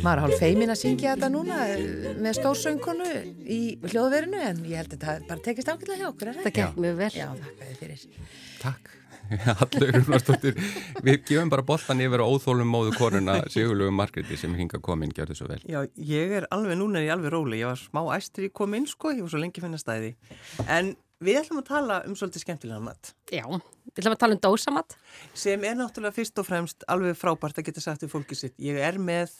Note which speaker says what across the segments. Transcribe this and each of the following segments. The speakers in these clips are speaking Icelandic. Speaker 1: Maður er hálf feimin að syngja þetta núna eh, með stórsöngkonu í hljóðverinu en ég held að þetta bara tekist ákveðlega hjá okkur, er það
Speaker 2: Það
Speaker 1: ekki?
Speaker 2: gekk mjög vel.
Speaker 1: Já, þakka þið fyrir.
Speaker 3: Takk. Allur Rúnarsdóttir, við gefum bara boltan yfir á óþólum móðu konuna Sigurlegu Margreti sem hinga komin, gerðu svo vel.
Speaker 4: Já, ég er alveg, núna er ég alveg róli, ég var smá æstur í komin, sko, ég var svo lengi að finna stæði. En við ætlum að tala um svolítið skemmtilega mat,
Speaker 2: Já, við ætlum að tala um dósamat.
Speaker 4: sem er náttúrulega fyrst og fremst alveg frábært að geta sagt við fólkið sitt. Ég er með,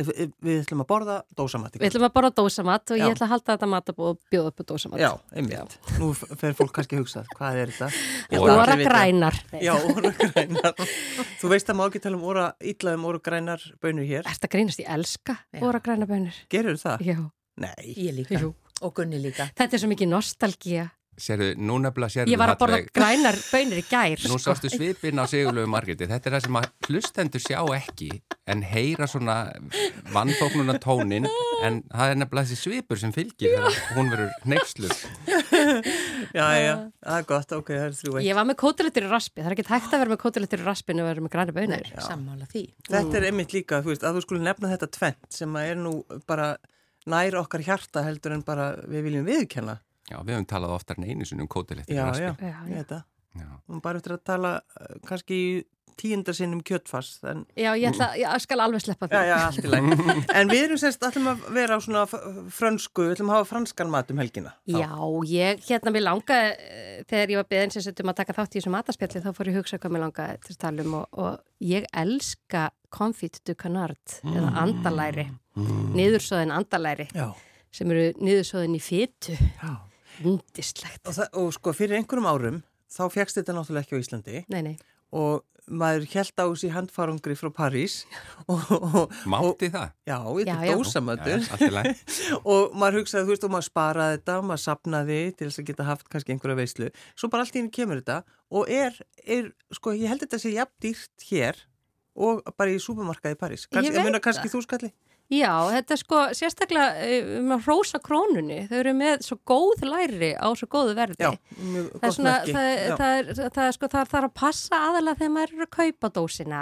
Speaker 4: við, við ætlum að borða dósamat. í
Speaker 2: Við ætlum að borða dósamat og
Speaker 4: Já.
Speaker 2: ég ætla að halda þetta matabóð og bjóða upp á dósamat.
Speaker 4: Já, einmitt. Nú fer fólk kannski að hugsa, hvað er þetta? Ég ætla að
Speaker 2: Óra
Speaker 4: allir vita.
Speaker 2: grænar.
Speaker 4: Já, óra grænar. Þú veist að má ekki tala um óra, illa um óra grænar bönur hér.
Speaker 2: Er þetta grínast? Ég elska
Speaker 1: Já.
Speaker 2: óra grænabönur.
Speaker 4: Gerur það?
Speaker 2: Já,
Speaker 4: Nei.
Speaker 1: Ég líka
Speaker 2: jú.
Speaker 1: og Gunni líka.
Speaker 2: Þetta er svo mikið nostalgía.
Speaker 3: Sérðu, nú nefnilega sérðu
Speaker 2: Ég var að sko. borða
Speaker 3: falleg.
Speaker 2: grænar bönir í gær.
Speaker 3: Nú sástu svipin á Sigurlegu Margreti. Þetta er það sem að hlustendur sjá ekki en heyra svona vannfóknuna tónin en það er nefnilega þessi svipur sem fylgir þegar hún verður neyksluð.
Speaker 4: Já, já, það er gott, ok, það er þrjú eitt.
Speaker 2: Ég var með kótilettur í raspi. Það er ekki hægt að vera með kótilettur í raspi en að vera með grænar bönir.
Speaker 1: Sammála því.
Speaker 4: Þetta er einmitt líka, þú veist, að þú skulle nefna þetta tvent sem að er nú bara nær okkar hjarta heldur en bara við viljum viðkenna.
Speaker 3: Já, við höfum talað oftar en einu sinni um kótilettir.
Speaker 4: Já,
Speaker 2: Já,
Speaker 4: já,
Speaker 2: já.
Speaker 4: ég veit það.
Speaker 3: já.
Speaker 4: Og bara eftir að tala eh, kannski í tíundarsinn um kjötfars, en
Speaker 2: Já, ég, ætla, ég skal alveg sleppa því.
Speaker 4: Já, já, allt í læg. En við erum semst, ætlum að vera á svona f- frönsku, við ætlum að hafa franskan mat um helgina.
Speaker 2: Já, ég, hérna, mér langaði, eh, þegar ég var beðin sem settum að taka þátt í þessu mataspjalli, þá fór ég að hugsa hvað mér langaði til að tala um og, og ég elska confit du canard eða andalæri, niðursóðin andalæri,
Speaker 4: Mm. Já.
Speaker 2: sem eru niðursóðin í fytu,
Speaker 4: Já.
Speaker 2: vindislegt.
Speaker 4: Og, það, og sko, fyrir einhverjum árum, þá fegst þetta náttúrulega ekki á Íslandi
Speaker 2: Nei, nei,
Speaker 4: og maður held á þessi handfarungri frá París og, og, og
Speaker 3: Mátti það?
Speaker 4: já, þetta
Speaker 2: Já, já.
Speaker 4: er dósamötur.
Speaker 3: Já, allt í lagi.
Speaker 4: og maður hugsaði, þú veist, og maður sparaði þetta og maður sapnaði til þess að geta haft kannski einhverja veislu, svo bara allt í henni kemur þetta og er, er, sko, ég held þetta sé jafn dýrt hér og bara í súpermarkaði í París. Kansk,
Speaker 2: Ég
Speaker 4: ég
Speaker 2: veit
Speaker 4: muna kannski þú skalli.
Speaker 2: já, þetta er sko sérstaklega eh, um að hrósa krónunni, þau eru með svo góð læri á svo góðu verði.
Speaker 4: Já, mjög
Speaker 2: Það er
Speaker 4: gott
Speaker 2: svona,
Speaker 4: merki.
Speaker 2: það,
Speaker 4: Já.
Speaker 2: það, er, það er sko, það þarf að passa aðalega þegar maður eru að kaupa dósina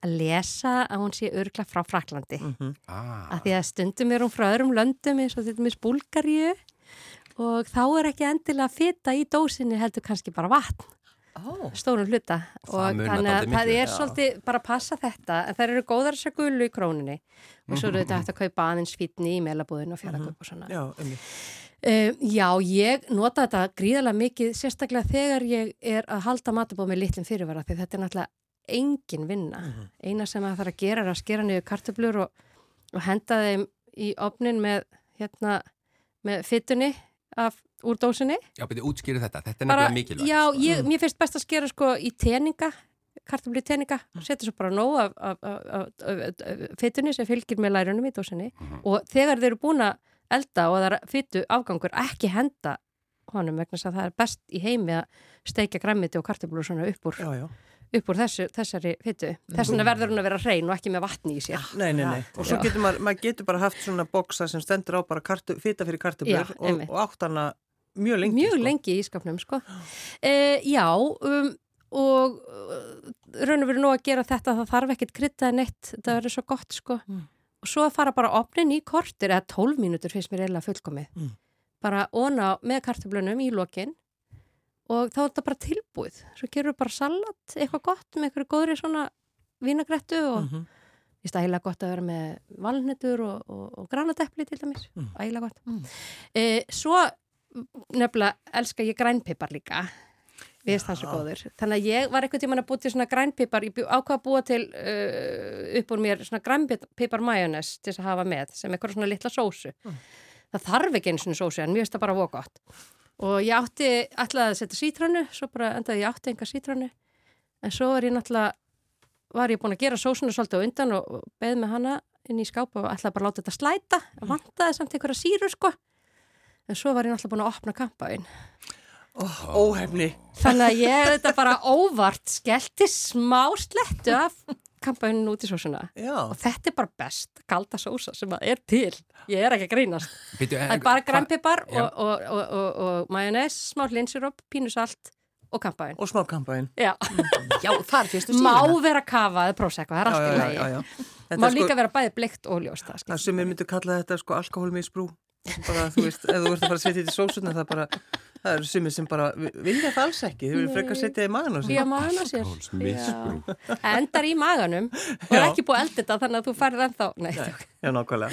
Speaker 2: að lesa að hún sé örgla frá Fraklandi.
Speaker 3: Ah,
Speaker 2: Af því að stundum er hún frá öðrum löndum eins og þetta með Búlgaríu og þá er ekki endilega fita í dósinni heldur kannski bara vatn,
Speaker 1: Ó,
Speaker 2: stórum hluta.
Speaker 3: Og það munar
Speaker 2: að
Speaker 3: dálítið
Speaker 2: það
Speaker 3: miklu.
Speaker 2: er svolítið bara að passa þetta en það eru góðar þessar gulu í króninni og svo eru þetta hægt að kaupa aðeins fítni í meilabúðinu og fjarlagöp og svona.
Speaker 4: Já, einmitt.
Speaker 2: Um, já, ég nota þetta gríðarlega mikið, sérstaklega þegar ég er að halda matabóð með litlum fyrirvara því þetta er náttúrulega engin vinna. Eina sem að það þarf að gera er að skera niður kartöflur og, og henda þeim í opnin með, hérna, með fytunni af, úr dósinni.
Speaker 3: já, betið útskýru þetta. Þetta er nefnilega mikilvægt.
Speaker 2: Já,
Speaker 3: sko.
Speaker 4: Mm.
Speaker 2: ég, mér finnst best að skera sko í teninga, kartöflur í teninga
Speaker 4: Mm.
Speaker 2: og setja svo bara nóg af, af, af, af, af, af fytunni sem fylgir með lærunum í dósinni
Speaker 3: Mhm.
Speaker 2: og þegar þeir eru búin að elda og það er fytu afgangur ekki henda honum vegna þess að það er best í heimi að steikja græmiti og kartöflur svona upp úr,
Speaker 4: já, já.
Speaker 2: upp úr þessu, þessari fytu. Þess vegna verður hún að vera hrein og ekki með vatni í sér.
Speaker 4: Nei, nei, nei. Og svo
Speaker 2: Já.
Speaker 4: getur maður, maður getur bara haft svona boksa sem stendur á bara kartu, fita fyrir
Speaker 2: Já,
Speaker 4: kartöflur og,
Speaker 2: einmitt.
Speaker 4: og átt hana mjög lengi.
Speaker 2: mjög
Speaker 4: sko.
Speaker 2: lengi í skapnum sko. e, já um, og uh, raun og verið nú að gera þetta það þarf ekkert kryddað neitt það verður svo gott sko
Speaker 4: Mm.
Speaker 2: og svo að fara bara opnin í kortir eða 12 mínútur finnst mér eiginlega fullkomið
Speaker 4: Mm.
Speaker 2: bara óna með kartöflunum í lokin og þá er þetta bara tilbúið svo gerur bara salat, eitthvað gott með eitthvað góðri svona vínagrettu og
Speaker 4: Mhm.
Speaker 2: Ég finnst ægilega gott að vera með valnetur og, og, og granatepli til dæmis,
Speaker 4: Mm.
Speaker 2: ægilega gott.
Speaker 1: Mm.
Speaker 2: E, svo nefnilega elska ég grænpipar líka, við erum það svo
Speaker 4: Já.
Speaker 2: góður. Þannig að ég var einhvern tíman að búa til svona grænpipar, ég bjó- ákvað að búa til uh, upp úr mér svona grænpipar majónes til þess að hafa með sem eitthvað svona litla sósu. Það þarf ekki einu svona sósu en mér finnst það bara vók gott. Og ég átti, ætlaði að setja sítrónu, svo bara endaði ég átti enga sítrónu. En svo er ég náttúrulega, var ég búin að gera sósuna svolítið á undan og og beð með hana inn í skáp og ætlaði bara að láta þetta slæta. Vantaði samt einhverja sírur sko. En svo var ég náttúrulega búin að opna kampaðin.
Speaker 4: oh, óhefni
Speaker 2: Þannig að ég er þetta bara óvart skellti smá slettu af kampauninu út í sósuna.
Speaker 4: Já,
Speaker 2: Og þetta er bara best kalda sósa sem að er til. Ég er ekki að grínast.
Speaker 3: Bíddu, en-
Speaker 2: Það er bara
Speaker 3: hva-
Speaker 2: grænpipar
Speaker 3: Já.
Speaker 2: og, og, og, og, og majónes, smá linsiróp, pínusalt og kampaun.
Speaker 4: og smá kampaðin
Speaker 2: Já,
Speaker 1: Já, þar fyrstu
Speaker 2: má
Speaker 1: síðuna.
Speaker 2: vera kafaði prósekku, það er allt í lagi. Má
Speaker 4: Þetta er
Speaker 2: líka
Speaker 4: sko,
Speaker 2: vera bæði bleikt og ljóst. það skil.
Speaker 4: það sem ég myndi kalla þetta sko alkoholmisbrú bara, þú veist, ef þú ert að fara að setja þetta í sósuna það bara, það eru sumir sem bara vi- vilja það alls ekki, þau vilja frekar setja það í magan og
Speaker 2: Já,
Speaker 4: sér.
Speaker 2: magan á sér.
Speaker 3: Alkoholsmisbrú.
Speaker 2: Já. Endar í maganum og er
Speaker 4: Já.
Speaker 2: ekki búið eldita þannig að þú færð ennþá. Nei, Nei.
Speaker 4: Já, nákvæmlega.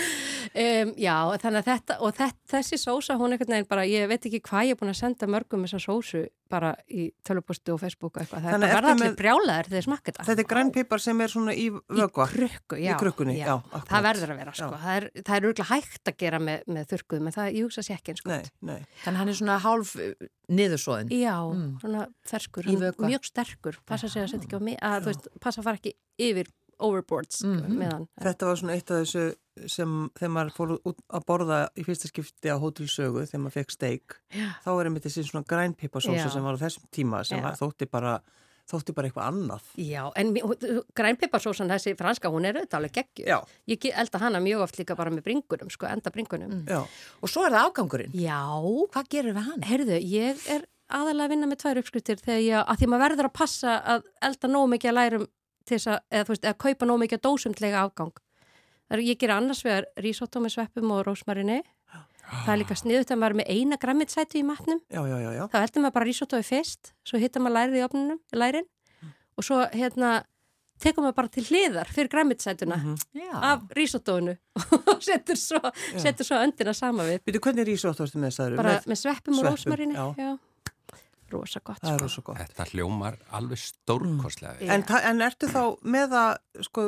Speaker 2: Um, já, þannig að þetta, og þetta, þessi sósa, hún einhvern veginn bara, ég veit ekki hvað ég er búin að senda mörgum þessa sósu bara í tölvupostu og Facebooku eitthvað. Það er
Speaker 4: Þannig
Speaker 2: bara
Speaker 4: ertu
Speaker 2: verða allir
Speaker 4: með-
Speaker 2: brjálaðir þegar þeir smakka þetta.
Speaker 4: Þetta er grænpipar sem er svona í vögva.
Speaker 2: Í krukku, já.
Speaker 4: Í krukkunni, já, akkurat.
Speaker 2: það verður að vera, sko.
Speaker 4: Já.
Speaker 2: Það er, það er örgulega hægt að gera með, með þurrkuð, menn það, ég hugsa sér ekki eins sko.
Speaker 4: Nei, nei.
Speaker 1: Þannig hann er svona hálf uh, niðursóðin.
Speaker 2: Já, svona ferskur,
Speaker 1: Mm. Í
Speaker 2: hann-
Speaker 1: vökva.
Speaker 2: mjög sterkur. Passa sig að setja ekki á mig, að þú veist, passa að fara ekki yfir overboards
Speaker 1: Mhm.
Speaker 2: með hann.
Speaker 4: Þetta var svona eitt af þessu sem þegar maður fór út að borða í fyrsta skipti á hótelsögu þegar maður fekk steik þá er einmitt þessi svona grænpipasósa
Speaker 2: Já.
Speaker 4: sem var á þessum tíma sem
Speaker 2: Já.
Speaker 4: var, þótti, bara, þótti bara eitthvað annað.
Speaker 2: Já, en mi- hú- hú- grænpiparsósan þessi franska, hún er auðvitað alveg geggjur.
Speaker 4: Já.
Speaker 2: Ég ge- elda hana mjög oft líka bara með bringunum, sko, enda bringunum.
Speaker 4: Já,
Speaker 1: Og svo er það ágangurinn.
Speaker 2: Já,
Speaker 1: Hvað gerir við hann?
Speaker 2: heyrðu, ég er aðalega að vinna með tvær uppskriftir þegar ég, að því maður verður að passa að elda nóg mikið að lærum til þess að, eða þú veist, að kaupa nóg mikið að dósum til eiga afgang. Það er, ég ger annars vegar risotto með sveppum og rósmarinni. Það er líka sniðut að maður er með eina grammitsætu í matnum.
Speaker 4: já, já, já. já.
Speaker 2: þá heldur maður bara risottoði fyrst, svo hittar maður lærið í opninum, lærin og svo hérna tekur maður bara til hliðar fyrir græmitsætuna af risottoðinu og setur svo, setur svo öndina sama við,
Speaker 4: Býtu, hvernig er ísótt ástu með þessari?
Speaker 2: bara með sveppum og
Speaker 4: sveppum,
Speaker 2: rósmarinni
Speaker 4: já.
Speaker 2: rosa gott
Speaker 4: Það er
Speaker 2: sko.
Speaker 4: rosa gott.
Speaker 3: Þetta hljómar alveg stórkostlega við.
Speaker 4: En, ta- en ertu þá með það sko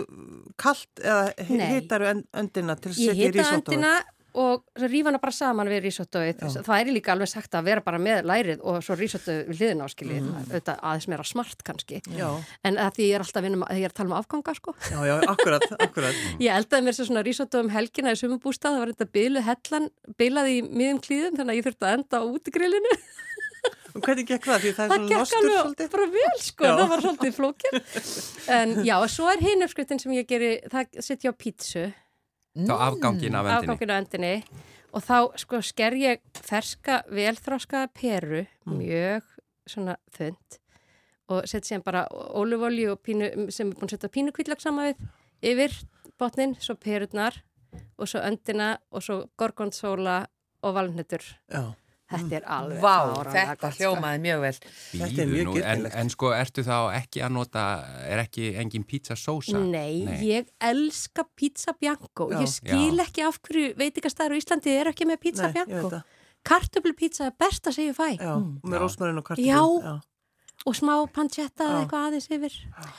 Speaker 4: kalt eða
Speaker 2: Nei.
Speaker 4: hitaru öndina til
Speaker 2: ég
Speaker 4: að setja í
Speaker 2: hitta
Speaker 4: risottoið?
Speaker 2: öndina og svo rífa hana bara saman við risottoði það er líka alveg sagt að vera bara með lærið og svo risottoði við hliðina áskilji mm. auðvitað aðeins meira smart kannski
Speaker 4: Já.
Speaker 2: en að því ég er alltaf að, vinna, með- ég er að tala um afganga sko
Speaker 4: Já, já, akkurat, akkurat.
Speaker 2: Ég eldaði mér sér svona risotto um helgina í sumubústað, það var þetta bylu hellan, bylaði í miðum klíðum þannig að ég þurfti að enda á útigrillinu.
Speaker 4: Og hvernig gekk það? Því það er
Speaker 2: Það
Speaker 4: svona
Speaker 2: gekk
Speaker 4: lostur
Speaker 2: alveg
Speaker 4: svolítið.
Speaker 2: bara vel sko,
Speaker 4: Já.
Speaker 2: það var svolítið flókir. En já, og svo er hinn uppskriftin sem ég geri, það setja á pítsu, Mm.
Speaker 3: Þá afgangin af endinni.
Speaker 2: afganginu á endinni og þá sko sker ég ferska velþróskaða peru,
Speaker 4: Mm.
Speaker 2: mjög svona þund og set sér bara ólífólju og pínu, sem er búin að setja pínukvillag saman við yfir botnin, svo perurnar og svo öndina og svo gorgonsóla og valnötur.
Speaker 4: Já. Mm.
Speaker 2: Þetta er alveg
Speaker 1: Vá,
Speaker 2: fáránlega
Speaker 1: þetta
Speaker 2: gott, sko.
Speaker 1: hljómaði mjög vel.
Speaker 4: Þetta er mjög
Speaker 3: Bíðu nú, en,
Speaker 4: girnilegt.
Speaker 3: en sko, ertu þá ekki að nota, er ekki engin pizzasósa?
Speaker 2: Nei, ég elska pizza bianco.
Speaker 4: Já.
Speaker 2: ég skil ekki af hverju veitingastæður á Íslandi er ekki með pizza
Speaker 4: Nei, ég veit
Speaker 2: bianco.
Speaker 4: það.
Speaker 2: Kartöflu er besta sem ég fæ
Speaker 4: Já, með rósmarinn og kartum.
Speaker 2: Já. og smá pancetta eða
Speaker 4: Já.
Speaker 2: eitthvað aðeins yfir.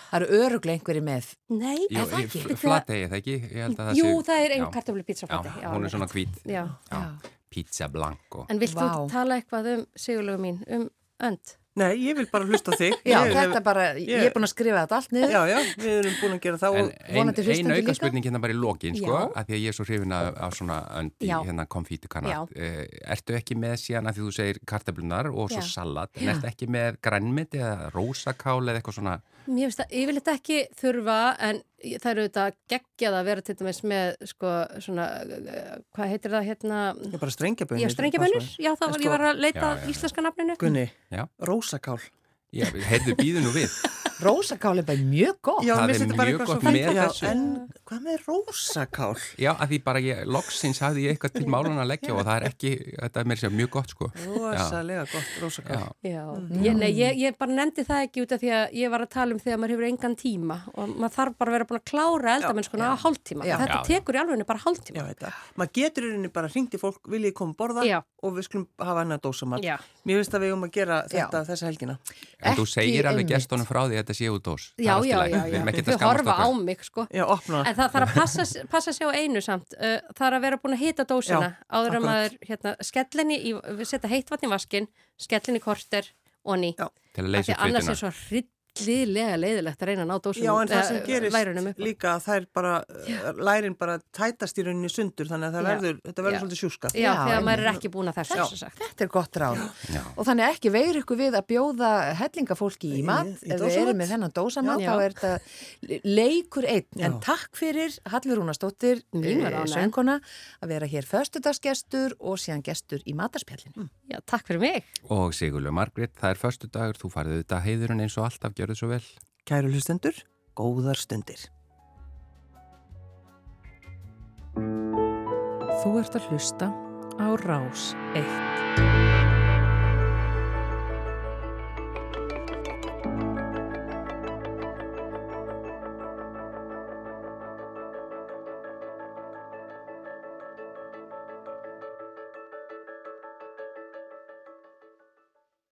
Speaker 1: Það eru öruglega einhverju með.
Speaker 2: Nei,
Speaker 3: Jú,
Speaker 2: er það ekki. Þetta-
Speaker 3: flategi það ekki? Ég held að það
Speaker 2: Jú,
Speaker 3: sé-
Speaker 2: það er einn
Speaker 3: Já.
Speaker 2: kartöflu pizza
Speaker 3: Já,
Speaker 2: fætti.
Speaker 3: hún er svona hvít.
Speaker 2: Já.
Speaker 3: Já. Pizza blanco.
Speaker 2: En vilt þú
Speaker 1: Vá.
Speaker 2: tala eitthvað um sigurlegu mín, um önd?
Speaker 4: Nei, ég vil bara hlusta á þig.
Speaker 1: Já,
Speaker 4: ég,
Speaker 1: þetta bara, ég er búin að skrifa þetta allt niður.
Speaker 4: Já, já, við erum búin að gera það
Speaker 3: En
Speaker 4: og
Speaker 3: ein,
Speaker 1: vonandi
Speaker 3: ein
Speaker 1: hlustandi líka.
Speaker 3: auka spurning hérna bara í lokin, sko,
Speaker 2: Já.
Speaker 3: að því að ég er svo hrifin af, af svona öndi,
Speaker 2: Já.
Speaker 3: hérna konfítukanat. Uh, ertu ekki með síðan að því þú segir kartablunar og svo
Speaker 2: Já.
Speaker 3: salat, en ertu ekki með grænmiti eða rósakál eða eitthvað svona?
Speaker 2: Mér finnst að ég vil þetta ekki þurfa en ég- það eru auðvitað geggjað að vera til dæmis með sko svona, eh, hvað heitir það hérna?
Speaker 4: ég er bara strengjabönnir.
Speaker 2: Já, strengjabönnur? Já, þá
Speaker 4: En
Speaker 2: var
Speaker 4: sko-
Speaker 2: ég var að leita
Speaker 3: Já,
Speaker 2: að
Speaker 3: já, já.
Speaker 2: íslenska nafninu.
Speaker 4: Gunni,
Speaker 3: Já.
Speaker 4: rósakál.
Speaker 3: Já, heyrðu býðu nú við.
Speaker 1: Rósakál er bara mjög gott.
Speaker 4: Já,
Speaker 3: Það
Speaker 4: mér
Speaker 3: er
Speaker 4: finnst þetta bara
Speaker 3: mjög
Speaker 4: eitthvað
Speaker 3: gott
Speaker 4: svo
Speaker 3: með
Speaker 4: fænt. Já,
Speaker 3: þessu.
Speaker 4: En hvað með rósakál?
Speaker 3: Já, að því bara ég, loksins hafði ég eitthvað til málun að leggja og það er ekki, þetta er mér sér mjög gott, sko.
Speaker 4: Rósalega gott
Speaker 3: Já.
Speaker 4: rósakál.
Speaker 2: Já,
Speaker 4: Mm.
Speaker 2: ég, nei, ég, ég bara nefndi það ekki út af því að ég var að tala um þegar maður hefur engan tíma og maður þarf bara að vera búin að klára eldamennskuna á hálftíma.
Speaker 4: Já.
Speaker 2: Þetta
Speaker 3: Já, já.
Speaker 2: tekur í alvegni bara
Speaker 4: Já,
Speaker 2: hálftíma.
Speaker 4: þetta. Maður getur í rauninni bara hringt í fólk, vil ég koma að borða
Speaker 2: Já.
Speaker 4: og við skulum hafa hennar dósamat.
Speaker 2: Já.
Speaker 4: Mér finnst að við um að gera
Speaker 1: Já.
Speaker 4: þetta þessa helgina.
Speaker 3: En þú
Speaker 1: Ekki
Speaker 3: segir alveg
Speaker 1: einmitt.
Speaker 3: gestunum frá því að þetta sé út ós.
Speaker 2: Já, já, já,
Speaker 3: Við
Speaker 2: já.
Speaker 3: erum ekki að
Speaker 2: Þau
Speaker 3: skamast
Speaker 2: horfa á
Speaker 3: okkur.
Speaker 2: mig, sko.
Speaker 4: Já, opna.
Speaker 2: En það þarf að passa, passa sig á einu samt. Uh, það er að vera búin að hita dósina
Speaker 4: Já,
Speaker 2: áður en
Speaker 4: akkurat.
Speaker 2: maður hérna, skellinni, í, við setja heitt vatn í vaskin, skellinni korter og ný.
Speaker 4: Já.
Speaker 3: Til að leysa upp
Speaker 2: Annars
Speaker 3: kvitina.
Speaker 2: er svo hryllilega leiðilegt að reyna að ná dósunum
Speaker 4: Já, en það sem
Speaker 2: eh, lærunum upp
Speaker 4: gerist
Speaker 2: á.
Speaker 4: líka að þær bara, já. lærin bara tætast í rauninni sundur þannig að það
Speaker 2: Já.
Speaker 4: verður, þetta verður
Speaker 2: Já.
Speaker 4: svolítið sjúska.
Speaker 2: Já,
Speaker 1: Já,
Speaker 2: þegar maður er
Speaker 1: einmitt.
Speaker 2: ekki búin að þessu
Speaker 4: Já.
Speaker 2: sem sagt.
Speaker 1: Þetta er gott ráð.
Speaker 3: Já.
Speaker 1: Og þannig að ekki veir ykkur við að bjóða hellingafólki í
Speaker 4: Í-
Speaker 1: mat.
Speaker 4: í
Speaker 1: Ef við
Speaker 4: dósamat.
Speaker 1: erum með þennan dósamat,
Speaker 2: Já.
Speaker 1: þá er þetta leikur einn. En
Speaker 4: Já.
Speaker 1: takk fyrir Hallur Rúnastóttir,
Speaker 2: Mín var
Speaker 1: eh,
Speaker 2: ánægð.
Speaker 1: söngkona, að vera hér föstudagsgestur og síðan gestur í matarspjallinu.
Speaker 2: Já, takk fyrir mig.
Speaker 3: Og Sigurlu Margrét, það er förstu dagur, þú farið auðvitað heiðurinn eins og alltaf, gjörðu svo vel.
Speaker 4: Kæru hlustendur, góðar stundir.
Speaker 5: Þú ert að hlusta á Rás 1.